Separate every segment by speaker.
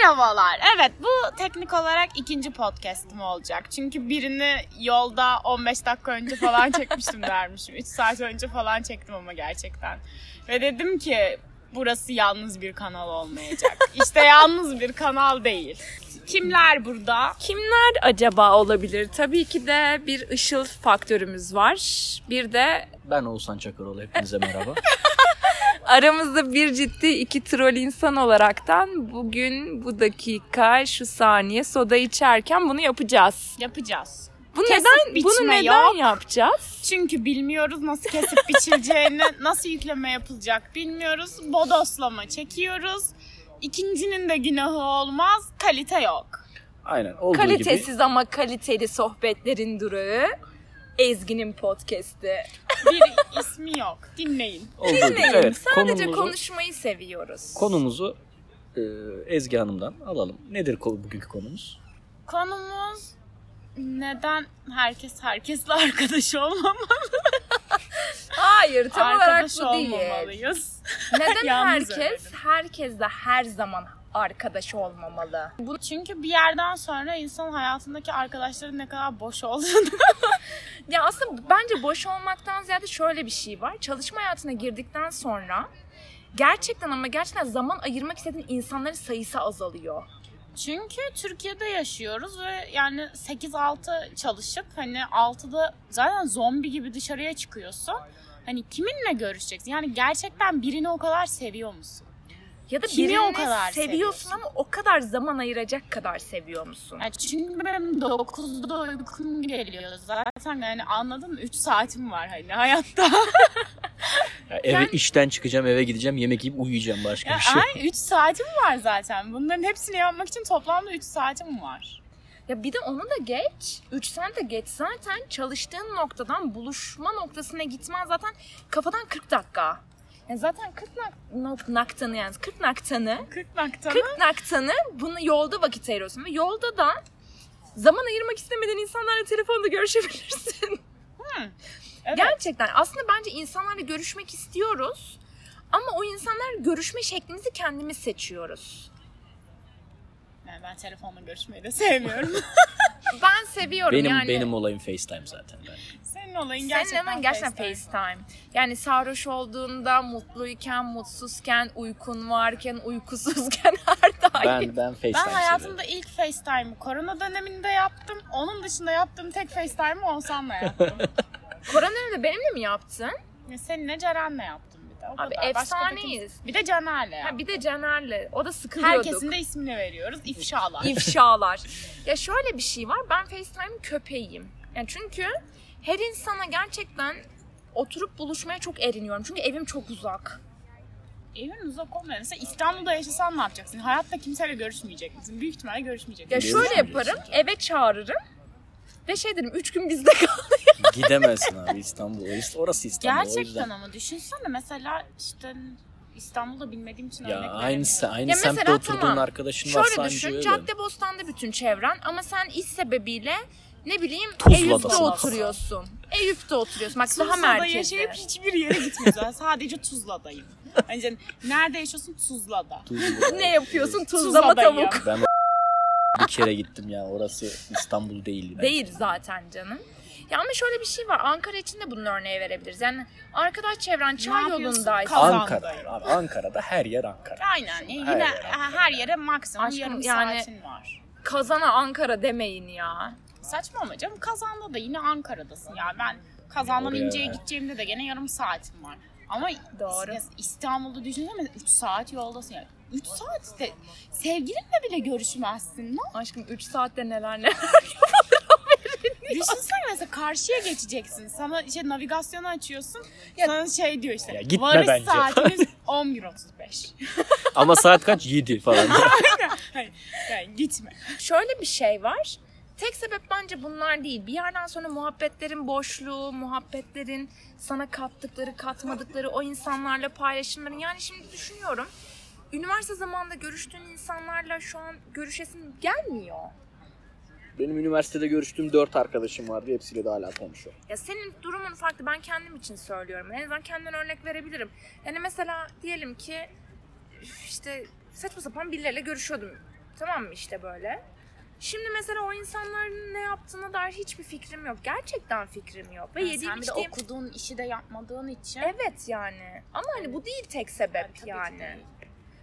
Speaker 1: Merhabalar. Evet bu teknik olarak ikinci podcast'im olacak. Çünkü birini yolda 15 dakika önce falan çekmiştim dermişim. 3 saat önce falan çektim ama gerçekten. Ve dedim ki burası yalnız bir kanal olmayacak. İşte yalnız bir kanal değil. Kimler burada?
Speaker 2: Kimler acaba olabilir? Tabii ki de bir ışıl faktörümüz var. Bir de
Speaker 3: Ben Oğuzhan Çakıroğlu hepinize merhaba.
Speaker 2: aramızda bir ciddi iki troll insan olaraktan bugün bu dakika şu saniye soda içerken bunu yapacağız.
Speaker 1: Yapacağız.
Speaker 2: Bu
Speaker 1: Kesip
Speaker 2: neden
Speaker 1: biçme
Speaker 2: bunu neden
Speaker 1: yok.
Speaker 2: yapacağız?
Speaker 1: Çünkü bilmiyoruz nasıl kesip biçileceğini, nasıl yükleme yapılacak bilmiyoruz. Bodoslama çekiyoruz. İkincinin de günahı olmaz. Kalite yok.
Speaker 3: Aynen olduğu gibi.
Speaker 2: Kalitesiz ama kaliteli sohbetlerin durağı Ezgi'nin podcast'i.
Speaker 1: Bir ismi yok. Dinleyin.
Speaker 3: Olduğu gibi.
Speaker 2: Dinleyin.
Speaker 3: Evet,
Speaker 2: Sadece
Speaker 3: konumuzu,
Speaker 2: konuşmayı seviyoruz.
Speaker 3: konumuzu e, Ezgi Hanım'dan alalım. Nedir ko- bugünkü konumuz?
Speaker 1: Konumuz neden herkes herkesle arkadaş olmamalı?
Speaker 2: Hayır tam olarak
Speaker 1: arkadaş
Speaker 2: bu değil.
Speaker 1: olmamalıyız.
Speaker 2: Neden
Speaker 1: Yalnız
Speaker 2: herkes herkesle her zaman arkadaş olmamalı?
Speaker 1: Bu- Çünkü bir yerden sonra insanın hayatındaki arkadaşların ne kadar boş olduğunu.
Speaker 2: Ya aslında bence boş olmaktan ziyade şöyle bir şey var. Çalışma hayatına girdikten sonra gerçekten ama gerçekten zaman ayırmak istediğin insanların sayısı azalıyor.
Speaker 1: Çünkü Türkiye'de yaşıyoruz ve yani 8-6 çalışıp hani 6'da zaten zombi gibi dışarıya çıkıyorsun. Hani kiminle görüşeceksin? Yani gerçekten birini o kadar seviyor musun?
Speaker 2: Ya da
Speaker 1: Kimi
Speaker 2: birini
Speaker 1: o kadar
Speaker 2: seviyorsun
Speaker 1: seviyorsun?
Speaker 2: ama o kadar zaman ayıracak kadar seviyor musun?
Speaker 1: Yani çünkü benim 9'da uykum geliyor zaten yani anladın mı? 3 saatim var hani hayatta.
Speaker 3: Ya eve işten çıkacağım, eve gideceğim, yemek yiyip uyuyacağım başka
Speaker 1: Ya
Speaker 3: bir şey. yok.
Speaker 1: ay 3 saatim var zaten. Bunların hepsini yapmak için toplamda 3 saatim var.
Speaker 2: Ya bir de onu da geç. Üç sene de geç zaten çalıştığın noktadan buluşma noktasına gitmen zaten kafadan 40 dakika. Yani zaten 40 nak- nok- naktanı yani 40 naktanı
Speaker 1: 40 noktada.
Speaker 2: 40 naktanı bunu yolda vakit ayırıyorsun ve yolda da zaman ayırmak istemediğin insanlarla telefonda görüşebilirsin.
Speaker 1: evet.
Speaker 2: Gerçekten aslında bence insanlarla görüşmek istiyoruz ama o insanlar görüşme şeklimizi kendimiz seçiyoruz.
Speaker 1: Yani ben telefonla görüşmeyi de sevmiyorum.
Speaker 2: Ben seviyorum
Speaker 3: Benim
Speaker 2: yani.
Speaker 3: benim olayım FaceTime zaten. Ben.
Speaker 1: Senin olayın gerçekten
Speaker 2: Senin hemen gerçekten
Speaker 1: FaceTime.
Speaker 2: FaceTime. Yani sarhoş olduğunda, mutluyken, mutsuzken, uykun varken, uykusuzken her daim.
Speaker 3: Ben ben FaceTime.
Speaker 1: Ben
Speaker 3: seviyorum.
Speaker 1: hayatımda ilk FaceTime'ı korona döneminde yaptım. Onun dışında yaptığım tek FaceTime'ı Oğuzhan'la yaptım.
Speaker 2: Koronada benimle mi yaptın?
Speaker 1: Ya Seninle Ceren'le yaptım bir de. O
Speaker 2: Abi
Speaker 1: kadar. Başka da
Speaker 2: efsaneyiz.
Speaker 1: kimse- Bir de Caner'le yaptım.
Speaker 2: Ha, bir de Cener'le. O da sıkılıyorduk.
Speaker 1: Herkesin de ismini veriyoruz. İfşalar.
Speaker 2: ifşalar. ya şöyle bir şey var. Ben FaceTime'ın köpeğiyim. Yani çünkü her insana gerçekten oturup buluşmaya çok eriniyorum. Çünkü evim çok uzak.
Speaker 1: Evin uzak olmayan. Mesela İstanbul'da yaşasan ne yapacaksın? Hayatta kimseyle görüşmeyecek misin? Büyük ihtimalle görüşmeyecek
Speaker 2: Ya
Speaker 1: misin?
Speaker 2: şöyle yaparım. Eve çağırırım. Ve şey derim 3 gün bizde kal.
Speaker 3: Gidemezsin abi İstanbul. Orası- Orası İstanbul. o yüzden.
Speaker 1: Gerçekten ama düşünsene mesela işte İstanbul'da bilmediğim için
Speaker 3: Ya
Speaker 1: örnek
Speaker 3: aynı se-
Speaker 1: veremiyorum.
Speaker 3: aynı Hani
Speaker 2: Ya
Speaker 3: semtte
Speaker 2: mesela
Speaker 3: oturduğun
Speaker 2: tamam.
Speaker 3: arkadaşın varsa
Speaker 2: Şöyle
Speaker 3: anca
Speaker 2: düşün.
Speaker 3: öyle.
Speaker 2: Caddebostan'da bütün çevren ama sen iş sebebiyle ne bileyim
Speaker 3: Tuzla'dasın.
Speaker 2: Eyüp'te oturuyorsun. Eyüp'te oturuyorsun. Bak daha
Speaker 1: Tuzla'da
Speaker 2: merkezde.
Speaker 1: yaşayıp hiçbir yere gitmiyorsun. Sadece Tuzla'dayım. Yani sen nerede yaşıyorsun? Tuzla'da.
Speaker 3: Tuzla.
Speaker 2: Ne yapıyorsun? Tuzlama
Speaker 1: Tuzla'dayım.
Speaker 2: tavuk.
Speaker 3: Ben bir kere gittim ya. Orası İstanbul değil. bence.
Speaker 2: Değil zaten canım. Ya ama şöyle bir şey var. Ankara için de bunun örneği verebiliriz. Yani arkadaş çevren çay
Speaker 1: yapıyorsun?
Speaker 2: yolundaysa.
Speaker 1: Kal-
Speaker 3: Ankara.
Speaker 1: Kazandayım.
Speaker 3: Abi Ankara'da her yer Ankara.
Speaker 1: Aynen. Yani
Speaker 3: Her
Speaker 1: yine
Speaker 3: yere.
Speaker 1: her yere maksimum
Speaker 2: Aşkım
Speaker 1: yarım
Speaker 2: yani-
Speaker 1: saatin var.
Speaker 2: Kazana Ankara demeyin ya.
Speaker 1: Saçma ama canım kazanda da yine Ankara'dasın. Yani ben kazandan
Speaker 3: Oraya-
Speaker 1: inceye gideceğimde de gene yarım saatim var. Ama
Speaker 2: Doğru.
Speaker 1: İs- İstanbul'da düşünsene 3 saat yoldasın yani. 3 saatte sevgilinle bile görüşmezsin. Ne
Speaker 2: Aşkım 3 saatte neler ne.
Speaker 1: Düşünsene mesela karşıya geçeceksin. Sana işte navigasyonu açıyorsun.
Speaker 2: Ya-
Speaker 1: sana şey diyor işte.
Speaker 3: Ya gitme
Speaker 1: varış
Speaker 3: bence."
Speaker 1: saatimiz 11.35.
Speaker 3: Ama saat kaç? 7 falan.
Speaker 1: Yani gitme.
Speaker 2: Şöyle bir şey var. Tek sebep bence bunlar değil. Bir yerden sonra muhabbetlerin boşluğu, muhabbetlerin sana kattıkları, katmadıkları, o insanlarla paylaşımların. Yani şimdi düşünüyorum. Üniversite zamanında görüştüğün insanlarla şu an görüşesin gelmiyor.
Speaker 3: Benim üniversitede görüştüğüm 4 arkadaşım vardı. Hepsiyle de hala konuşuyorum.
Speaker 2: Ya senin durumun farklı. Ben kendim için söylüyorum. En azından kendimden örnek verebilirim. Yani mesela diyelim ki üf, işte saçma sapan birileriyle görüşüyordum Tamam mı işte böyle? Şimdi mesela o insanların ne yaptığına dair hiçbir fikrim yok. Gerçekten fikrim yok. Ve
Speaker 1: Yani
Speaker 2: yediğim
Speaker 1: sen bir de
Speaker 2: içtiğim...
Speaker 1: okuduğun işi de yapmadığın için.
Speaker 2: Evet yani. Ama hani bu değil tek sebep
Speaker 1: Tabii ki
Speaker 2: yani.
Speaker 1: değil.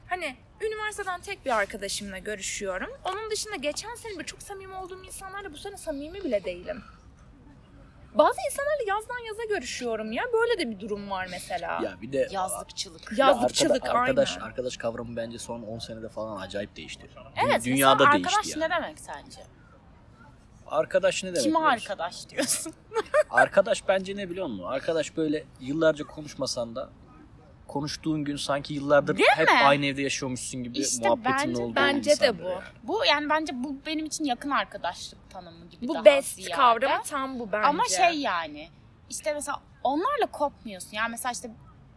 Speaker 2: Hani üniversiteden tek bir arkadaşımla görüşüyorum. Onun dışında geçen sene böyle çok samimi olduğum insanlarla bu sene samimi bile değilim. Bazı insanlarla yazdan yaza görüşüyorum ya. Böyle de bir durum var mesela.
Speaker 4: Ya bir de
Speaker 1: Yazlıkçılık.
Speaker 4: Ya arkada-
Speaker 2: Yazlıkçılık
Speaker 4: arkadaş,
Speaker 2: aynen.
Speaker 4: arkadaş kavramı bence son 10 senede falan acayip değişti. Dü-
Speaker 1: Evet,
Speaker 4: Dünyada
Speaker 1: mesela
Speaker 4: değişti
Speaker 1: arkadaş
Speaker 4: yani.
Speaker 1: ne demek sence?
Speaker 4: Arkadaş ne demek?
Speaker 1: Kime
Speaker 4: biliyor musun?
Speaker 1: arkadaş diyorsun?
Speaker 4: Arkadaş bence ne biliyor musun? Arkadaş böyle yıllarca konuşmasan da konuştuğun gün sanki yıllardır hep
Speaker 1: mi?
Speaker 4: aynı evde yaşıyormuşsun gibi
Speaker 1: İşte
Speaker 4: muhabbetin
Speaker 1: bence-
Speaker 4: olduğu
Speaker 2: Bence de
Speaker 4: insanlar
Speaker 2: bu.
Speaker 4: yani.
Speaker 1: Bu yani bence bu benim için yakın arkadaşlık tanımı gibi daha
Speaker 2: Bu best
Speaker 1: ziyade.
Speaker 2: kavramı tam bu bence.
Speaker 1: Ama şey yani işte mesela onlarla kopmuyorsun. Yani mesela işte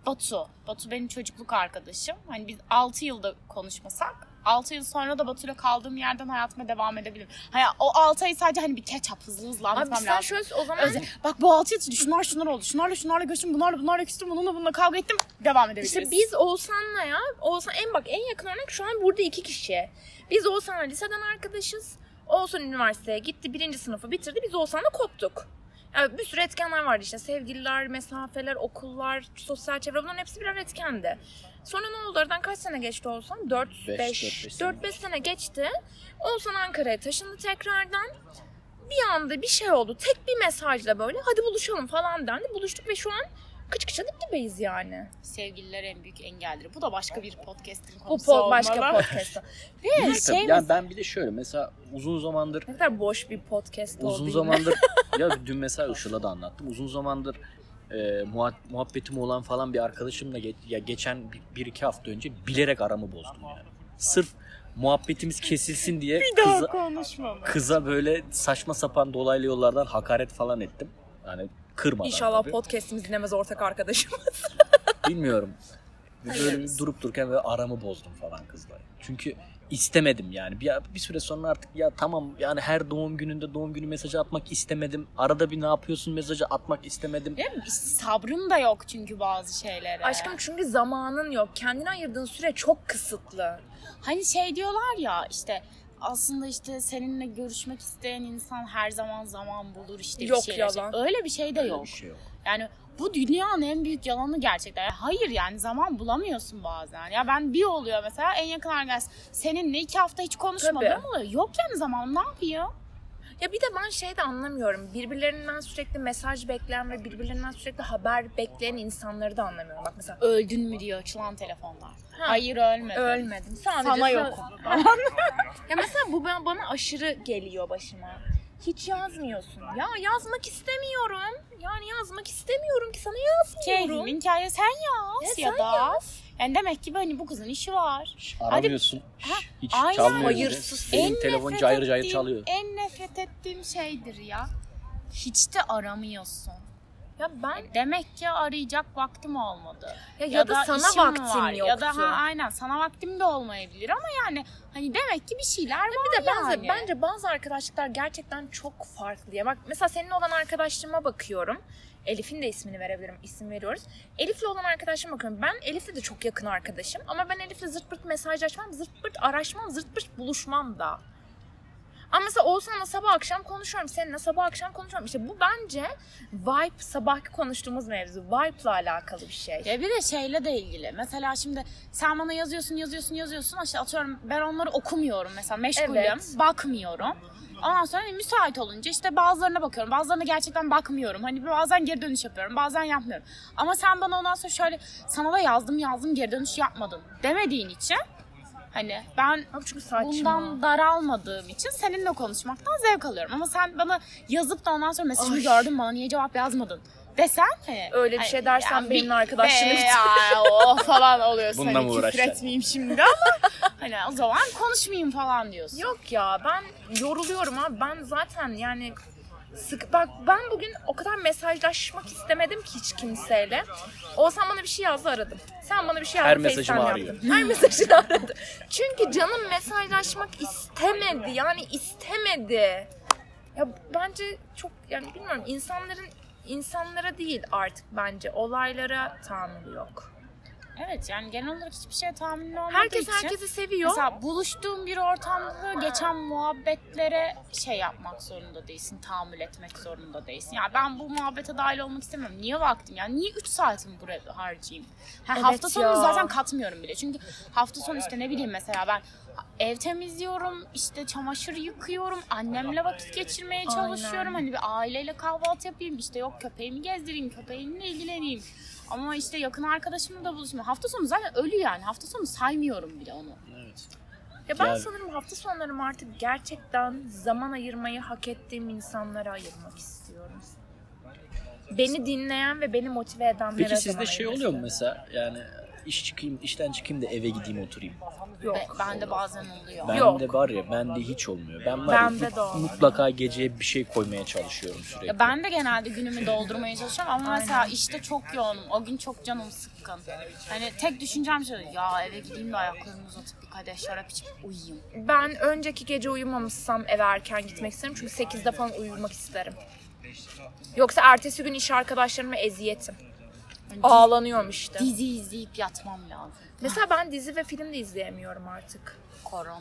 Speaker 1: Batu. Batu benim çocukluk arkadaşım. Hani biz 6 yılda konuşmasak 6 yıl sonra da Batu'yla kaldığım yerden hayatıma devam edebilirim. Hayır o 6 ayı sadece hani bir ketçap hızlı hızlı
Speaker 2: Abi
Speaker 1: anlatmam
Speaker 2: sen
Speaker 1: lazım.
Speaker 2: şöyle o zaman
Speaker 1: Özel- bak bu 6 yıl içinde şunlar şunlar oldu. Şunlarla şunlarla görüştüm. Bunlarla bunlarla küstüm. Bununla bununla kavga ettim. Devam edebiliriz.
Speaker 2: İşte biz Oğuzhan'la ya, Oğuzhan en bak en yakın örnek şu an burada iki kişi. Biz Oğuzhan'la liseden arkadaşız. Oğuzhan üniversiteye gitti, birinci sınıfı bitirdi. Biz Oğuzhan'la koptuk. Yani bir sürü etkenler vardı işte. Sevgililer, mesafeler, okullar, sosyal çevre bunların hepsi birer etkendi. Sonra ne oldu? Aradan kaç sene geçti Oğuzhan? 4 5
Speaker 4: Beş, dört, beş sene.
Speaker 2: 4 5 sene geçti. Oğuzhan Ankara'ya taşındı tekrardan. Bir anda bir şey oldu. Tek bir mesajla böyle hadi buluşalım falan dendi. Buluştuk ve şu an kıç kıça dip dibeyiz yani.
Speaker 1: Sevgililer en büyük engeldir. Bu da başka bir podcast'in
Speaker 2: Bu
Speaker 1: konusu
Speaker 2: po-
Speaker 1: olmalı.
Speaker 2: başka podcast. Ve
Speaker 4: Değil tabii.
Speaker 2: şey
Speaker 4: yani ben bir de şöyle mesela uzun zamandır
Speaker 2: ne kadar boş bir podcast oldu.
Speaker 4: uzun
Speaker 2: yine.
Speaker 4: zamandır ya dün mesela Işıl'a da anlattım. Uzun zamandır e, muha- muhabbetim olan falan bir arkadaşımla ge- ya geçen bir, bir iki hafta önce bilerek aramı bozdum yani. Sırf muhabbetimiz kesilsin diye
Speaker 1: Bir daha
Speaker 4: kıza,
Speaker 1: konuşma.
Speaker 4: kıza böyle saçma sapan dolaylı yollardan hakaret falan ettim. Yani kırmadan
Speaker 2: İnşallah
Speaker 4: tabii.
Speaker 2: podcast'imiz dinlemez ortak arkadaşım.
Speaker 4: Bilmiyorum. Ve Böyle bir durup dururken böyle aramı bozdum falan kızla. Çünkü istemedim yani. Bir, bir süre sonra artık ya tamam yani her doğum gününde doğum günü mesajı atmak istemedim. Arada bir ne yapıyorsun mesajı atmak istemedim.
Speaker 1: Değil mi? İşte sabrım da yok çünkü bazı şeylere.
Speaker 2: Aşkım çünkü zamanın yok. Kendine ayırdığın süre çok kısıtlı.
Speaker 1: Hani şey diyorlar ya işte aslında işte seninle görüşmek isteyen insan her zaman zaman bulur işte bir
Speaker 2: Yok
Speaker 1: şeyler.
Speaker 2: yalan.
Speaker 1: Öyle bir şey de
Speaker 4: Öyle
Speaker 1: yok.
Speaker 4: Bir şey yok.
Speaker 1: Yani bu dünyanın en büyük yalanı gerçekten. Hayır yani zaman bulamıyorsun bazen. Ya ben bir oluyor mesela en yakın arkadaş seninle iki hafta hiç konuşmadım
Speaker 2: Tabii.
Speaker 1: ama yok yani zaman ne yapıyor?
Speaker 2: Ya bir de ben şey de anlamıyorum. Birbirlerinden sürekli mesaj bekleyen ve birbirlerinden sürekli haber bekleyen insanları da anlamıyorum. Bak mesela
Speaker 1: Öldün mü diyor açılan telefonlar. Hayır ölmedim.
Speaker 2: ölmedim. Sadece
Speaker 1: Sana yok.
Speaker 2: Ya mesela bu ben- bana aşırı geliyor başıma. Hiç yazmıyorsun. Ya yazmak istemiyorum. Yani yazmak istemiyorum ki sana yazmıyorum.
Speaker 1: Kehrimin hikaye sen yaz
Speaker 2: Ya
Speaker 1: ya,
Speaker 2: sen
Speaker 1: da. Yani demek ki hani bu kızın işi var.
Speaker 4: Şş, Aramıyorsun. Şş, hiç
Speaker 1: aynen.
Speaker 4: çalmıyor.
Speaker 2: Hayırsız.
Speaker 4: Benim
Speaker 1: En
Speaker 4: telefon
Speaker 1: nefret
Speaker 4: cayır cayır
Speaker 1: ettiğim-
Speaker 4: çalıyor.
Speaker 1: En nefret ettiğim şeydir ya. Hiç de aramıyorsun.
Speaker 2: Ya ben
Speaker 1: Demek ki arayacak vaktim olmadı.
Speaker 2: Ya, ya, da,
Speaker 1: işim
Speaker 2: sana vaktim
Speaker 1: var.
Speaker 2: yoktu.
Speaker 1: Ya da ha, aynen sana vaktim de olmayabilir ama yani hani demek ki bir şeyler var
Speaker 2: bir de bence,
Speaker 1: yani.
Speaker 2: bence bazı arkadaşlıklar gerçekten çok farklı. Ya bak mesela senin olan arkadaşlığıma bakıyorum. Elif'in de ismini verebilirim. İsim veriyoruz. Elif'le olan arkadaşıma bakıyorum. Ben Elif'le de çok yakın arkadaşım. Ama ben Elif'le zırt pırt mesajlaşmam, zırt pırt araşmam, zırt pırt buluşmam da. Ama mesela Oğuzhan'la sabah akşam konuşuyorum. Seninle sabah akşam konuşuyorum. İşte bu bence vibe, sabahki konuştuğumuz mevzu. Vibe'la alakalı bir şey.
Speaker 1: Ya bir de şeyle de ilgili. Mesela şimdi sen bana yazıyorsun, yazıyorsun, yazıyorsun. İşte atıyorum ben onları okumuyorum mesela meşgulüm,
Speaker 2: Evet.
Speaker 1: bakmıyorum. Ondan sonra hani müsait olunca işte bazılarına bakıyorum. Bazılarına gerçekten bakmıyorum. Hani bazen geri dönüş yapıyorum, bazen yapmıyorum. Ama sen bana ondan sonra şöyle sana da yazdım yazdım geri dönüş yapmadın demediğin için hani ben
Speaker 2: Abi çünkü saçma.
Speaker 1: bundan daralmadığım için seninle konuşmaktan zevk alıyorum. Ama sen bana yazıp da ondan sonra mesajımı
Speaker 2: Ay.
Speaker 1: gördün bana niye cevap yazmadın desen hani.
Speaker 2: Öyle bir
Speaker 1: hani,
Speaker 2: şey dersen
Speaker 1: yani
Speaker 2: benimle
Speaker 1: bir-
Speaker 2: arkadaşlığını
Speaker 1: be-
Speaker 2: bitir.
Speaker 1: ya, o falan oluyor.
Speaker 4: Bununla
Speaker 1: hani
Speaker 4: mı
Speaker 1: küfür
Speaker 4: uğraşacaksın?
Speaker 1: etmeyeyim şimdi ama hani o zaman konuşmayayım falan diyorsun.
Speaker 2: Yok ya ben yoruluyorum abi. Ben zaten yani sık bak ben bugün o kadar mesajlaşmak istemedim ki hiç kimseyle. Oğuzhan bana bir şey yazdı aradım. Sen bana bir şey
Speaker 4: Her
Speaker 2: yazdın.
Speaker 4: mesajımı
Speaker 2: FaceTime
Speaker 4: arıyor.
Speaker 2: yaptın. Her mesajını aradı. Çünkü canım mesajlaşmak istemedi. Yani istemedi. Ya bence çok yani bilmiyorum insanların insanlara değil artık bence olaylara tahammülü yok.
Speaker 1: Evet yani genel olarak hiçbir şey tahminli olmadığı
Speaker 2: Herkes
Speaker 1: için.
Speaker 2: herkesi seviyor.
Speaker 1: Mesela buluştuğun bir ortamda geçen muhabbetlere şey yapmak zorunda değilsin, tahammül etmek zorunda değilsin. Ya ben bu muhabbete dahil olmak istemiyorum. Niye vaktim ya? Niye 3 saatimi buraya harcayayım? Ha,
Speaker 2: Evet
Speaker 1: hafta sonu
Speaker 2: ya.
Speaker 1: zaten katmıyorum bile. Çünkü hafta sonu işte ne bileyim mesela ben ev temizliyorum, işte çamaşır yıkıyorum, annemle vakit geçirmeye çalışıyorum. Hani bir aileyle kahvaltı yapayım, işte yok köpeğimi gezdireyim, köpeğimle ilgileneyim. Ama işte yakın arkadaşımla da buluşmuyorum. Hafta sonu zaten ölü yani. Hafta sonu saymıyorum bile onu.
Speaker 4: Evet.
Speaker 2: Ya ben
Speaker 4: Yani-
Speaker 2: sanırım hafta sonlarımı artık gerçekten zaman ayırmayı hak ettiğim insanlara ayırmak istiyorum. Beni dinleyen ve beni motive edenlere
Speaker 4: Peki
Speaker 2: zaman
Speaker 4: sizde şey
Speaker 2: ayırmak
Speaker 4: oluyor mu
Speaker 2: istiyorum.
Speaker 4: mesela yani iş çıkayım, işten çıkayım da eve gideyim oturayım.
Speaker 1: Be- ben de bazen oluyor.
Speaker 4: Ben
Speaker 2: Yok.
Speaker 4: de var ya bende hiç olmuyor. Ben var ya,
Speaker 2: Bende de
Speaker 4: mut-
Speaker 2: olmuyor.
Speaker 4: mutlaka geceye bir şey koymaya çalışıyorum sürekli.
Speaker 1: Ya ben de genelde günümü doldurmaya çalışıyorum ama mesela işte çok yoğunum. O gün çok canım sıkkın. Hani tek düşüncem şey ya eve gideyim de ayaklarımı uzatıp bir kadeh şarap içip uyuyayım.
Speaker 2: Ben önceki gece uyumamışsam eve erken gitmek isterim çünkü 8'de falan uyumak isterim. Yoksa ertesi gün iş arkadaşlarıma eziyetim.
Speaker 1: Hani
Speaker 2: Ağlanıyorum işte.
Speaker 1: dizi izleyip yatmam lazım.
Speaker 2: Mesela ben dizi ve film de izleyemiyorum artık.
Speaker 1: Korona.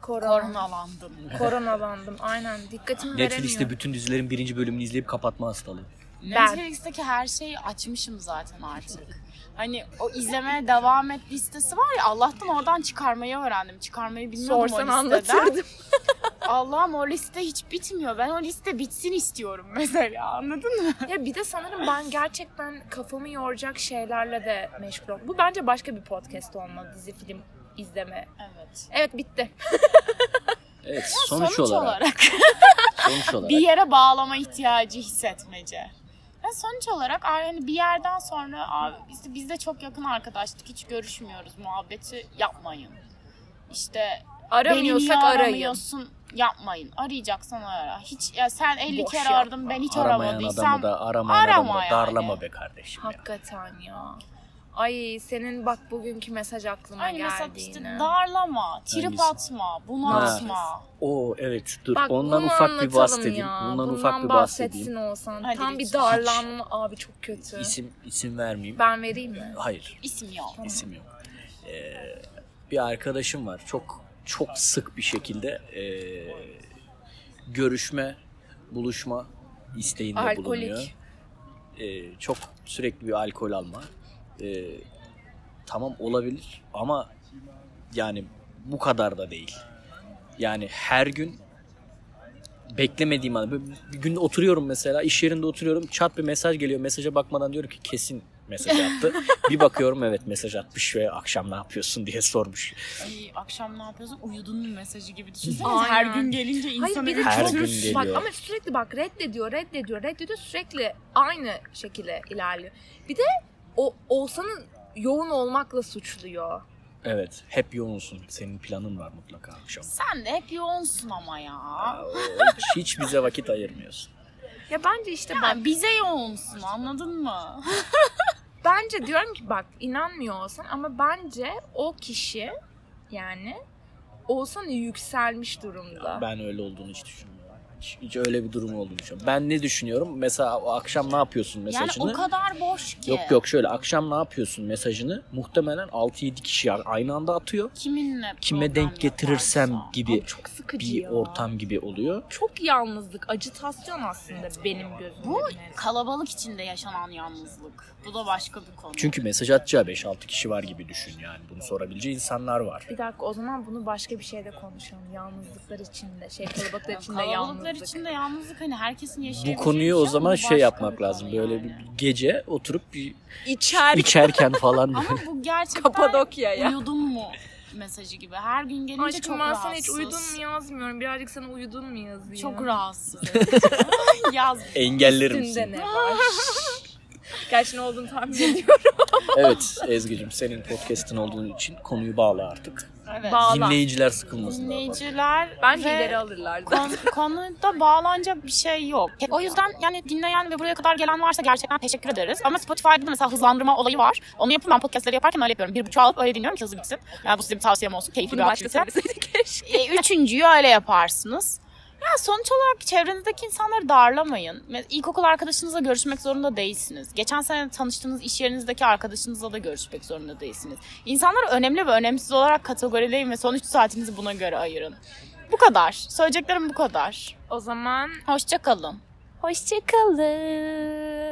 Speaker 2: Korona.
Speaker 1: Koronalandım.
Speaker 2: Koronalandım. Aynen. Dikkatimi
Speaker 4: Netflix'te
Speaker 2: veremiyorum.
Speaker 4: bütün dizilerin birinci bölümünü izleyip kapatma hastalığı.
Speaker 1: Netflix'teki her şeyi açmışım zaten artık. Hani o izlemeye devam et listesi var ya Allah'tan oradan çıkarmayı öğrendim. Çıkarmayı bilmiyordum
Speaker 2: Sorsan
Speaker 1: o listeden.
Speaker 2: anlatırdım.
Speaker 1: Allah'ım o liste hiç bitmiyor. Ben o liste bitsin istiyorum mesela anladın mı?
Speaker 2: Ya bir de sanırım ben gerçekten kafamı yoracak şeylerle de meşgul oldum. Bu bence başka bir podcast olmalı dizi film izleme.
Speaker 1: Evet.
Speaker 2: Evet bitti.
Speaker 4: Evet
Speaker 1: Sonuç,
Speaker 4: sonuç, olarak,
Speaker 1: olarak
Speaker 4: Sonuç olarak.
Speaker 1: bir yere bağlama ihtiyacı hissetmece. Ve sonuç olarak a- yani bir yerden sonra abi biz, biz de çok yakın arkadaştık hiç görüşmüyoruz muhabbeti yapmayın. İşte beni niye
Speaker 2: Aramıyorsak arayın.
Speaker 1: aramıyorsun yapmayın. Arayacaksan ara. Hiç ya sen 50
Speaker 2: Boş
Speaker 1: kere
Speaker 2: yapma.
Speaker 1: aradım ben hiç
Speaker 4: Aramayan adamı
Speaker 1: aramadıysam
Speaker 4: da aramayan
Speaker 1: arama
Speaker 4: adamı da
Speaker 1: yani.
Speaker 4: darlama be kardeşim ya.
Speaker 2: Hakikaten ya. Ay senin bak bugünkü mesaj aklıma
Speaker 1: Aynı
Speaker 2: geldi
Speaker 1: mesela
Speaker 2: yine.
Speaker 1: işte darlama, trip
Speaker 4: Hangisi?
Speaker 1: atma, bunaltma.
Speaker 4: Oo evet dur
Speaker 2: Bak
Speaker 4: ondan
Speaker 2: bunu
Speaker 4: ufak bir
Speaker 2: anlatalım
Speaker 4: bahsedeyim.
Speaker 2: ya.
Speaker 4: Bundan,
Speaker 2: Bundan
Speaker 4: ufak bir
Speaker 2: bahsetsin
Speaker 4: bahsedeyim.
Speaker 2: olsan.
Speaker 1: Hadi
Speaker 2: Tam bir
Speaker 1: lütfen.
Speaker 2: darlanma abi çok kötü.
Speaker 4: İsim isim vermeyeyim.
Speaker 2: Ben vereyim mi?
Speaker 4: Hayır.
Speaker 1: İsim yok.
Speaker 4: İsim yok. Ee, bir arkadaşım var. Çok çok sık bir şekilde ee, görüşme, buluşma isteğinde
Speaker 2: Alkolik.
Speaker 4: bulunuyor. Ee, çok sürekli bir alkol alma. Ee, tamam olabilir ama yani bu kadar da değil. Yani her gün beklemediğim anda böyle bir gün oturuyorum mesela iş yerinde oturuyorum çat bir mesaj geliyor mesaja bakmadan diyorum ki kesin mesaj attı. bir bakıyorum evet mesaj atmış ve akşam ne yapıyorsun diye sormuş.
Speaker 1: Ay, akşam ne yapıyorsun? Uyudun mu mesajı gibi düşünseniz
Speaker 2: Aynen.
Speaker 1: her gün gelince insan
Speaker 2: Hayır bir de
Speaker 4: Her
Speaker 2: çok
Speaker 4: gün geliyor.
Speaker 2: bak ama sürekli bak reddediyor, reddediyor, reddediyor sürekli aynı şekilde ilerliyor. Bir de o Oğuzhan'ın yoğun olmakla suçluyor.
Speaker 4: Evet hep yoğunsun senin planın var mutlaka akşam.
Speaker 1: Sen de hep yoğunsun ama ya.
Speaker 4: Aa, Hiç, hiç bize vakit ayırmıyorsun.
Speaker 2: Ya bence işte
Speaker 1: Ya
Speaker 2: bak
Speaker 1: bize yoğunsun anladın mı?
Speaker 2: bence diyorum ki bak inanmıyor olsan ama bence o kişi yani Oğuzhan yükselmiş durumda.
Speaker 4: Ben öyle olduğunu hiç düşünmüyorum. Hiç, hiç öyle bir durum olduğunu düşünmüyorum. Ben ne düşünüyorum? Mesela o akşam ne yapıyorsun
Speaker 1: Yani
Speaker 4: mesajını?
Speaker 1: o kadar boş ki.
Speaker 4: Yok yok şöyle akşam ne yapıyorsun mesajını muhtemelen 6-7 kişi aynı anda atıyor.
Speaker 1: Kiminle
Speaker 4: Kime
Speaker 1: problem
Speaker 4: denk getirirsem
Speaker 1: yaparsa.
Speaker 4: gibi
Speaker 2: çok sıkıcı
Speaker 4: bir
Speaker 2: ya.
Speaker 4: ortam gibi oluyor.
Speaker 2: Çok yalnızlık, acıtasyon aslında benim gözümde.
Speaker 1: Bu kalabalık içinde yaşanan yalnızlık. Bu da başka bir konu.
Speaker 4: Çünkü mesaj atacağı 5-6 kişi var gibi düşün yani. Bunu sorabileceği insanlar var.
Speaker 1: şey
Speaker 2: Bir dakika o zaman bunu başka bir şeyde konuşalım. Yalnızlıklar içinde, şey kalabalıklar
Speaker 1: Yani
Speaker 2: içinde
Speaker 1: kalabalıklar
Speaker 2: yalnızlık.
Speaker 1: içinde yalnızlık hani herkesin
Speaker 4: Bu
Speaker 1: yaşayabileceği bir
Speaker 4: konuyu o
Speaker 1: şey ama
Speaker 4: zaman
Speaker 1: bu
Speaker 4: şey
Speaker 1: başka bir
Speaker 4: yapmak
Speaker 1: konu
Speaker 4: lazım. Böyle bir
Speaker 1: yani.
Speaker 4: gece oturup bir
Speaker 2: İçer
Speaker 4: içerken falan
Speaker 1: Ama
Speaker 4: böyle.
Speaker 1: bu gerçekten
Speaker 2: Kapadokya'ya.
Speaker 1: uyudun mu mesajı gibi. Her gün gelince
Speaker 2: Aşkım
Speaker 1: çok
Speaker 2: ben
Speaker 1: rahatsız.
Speaker 2: sana hiç uyudun mu yazmıyorum. Birazcık sana uyudun mu yazayım.
Speaker 1: Çok rahatsız. Yaz.
Speaker 4: engellerim
Speaker 2: Üstünde
Speaker 4: seni.
Speaker 2: ne var? Gerçi ne olduğunu tahmin ediyorum.
Speaker 4: Evet Ezgi'cim senin podcast'ın olduğun için konuyu bağla artık.
Speaker 1: Evet.
Speaker 2: Bağla.
Speaker 4: Dinleyiciler sıkılmasın.
Speaker 1: Dinleyiciler
Speaker 2: Bence
Speaker 1: ve
Speaker 2: ileri alırlar.
Speaker 1: kon- konuda bağlanacak bir şey yok. O yüzden yani dinleyen ve buraya kadar gelen varsa gerçekten teşekkür ederiz. Ama Spotify'da da mesela hızlandırma olayı var. Onu yapın ben podcastları yaparken öyle yapıyorum. Bir buçuğa alıp öyle dinliyorum ki hızlı bitsin. Yani bu size bir tavsiyem olsun. Keyifli
Speaker 2: Bunu
Speaker 1: bir
Speaker 2: başka
Speaker 1: aktivite.
Speaker 2: söyleseydik keşke.
Speaker 1: E, üçüncüyü öyle yaparsınız. genel sonuç olarak çevrenizdeki insanları darlamayın. Me- İlkokul arkadaşınızla görüşmek zorunda değilsiniz. Geçen sene tanıştığınız iş yerinizdeki arkadaşınızla da görüşmek zorunda değilsiniz. İnsanları önemli ve önemsiz olarak kategorileyin ve son 3 saatinizi buna göre ayırın. Bu kadar. Söyleyeceklerim bu kadar.
Speaker 2: O zaman
Speaker 1: Hoşça kalın. Hoşça kalın.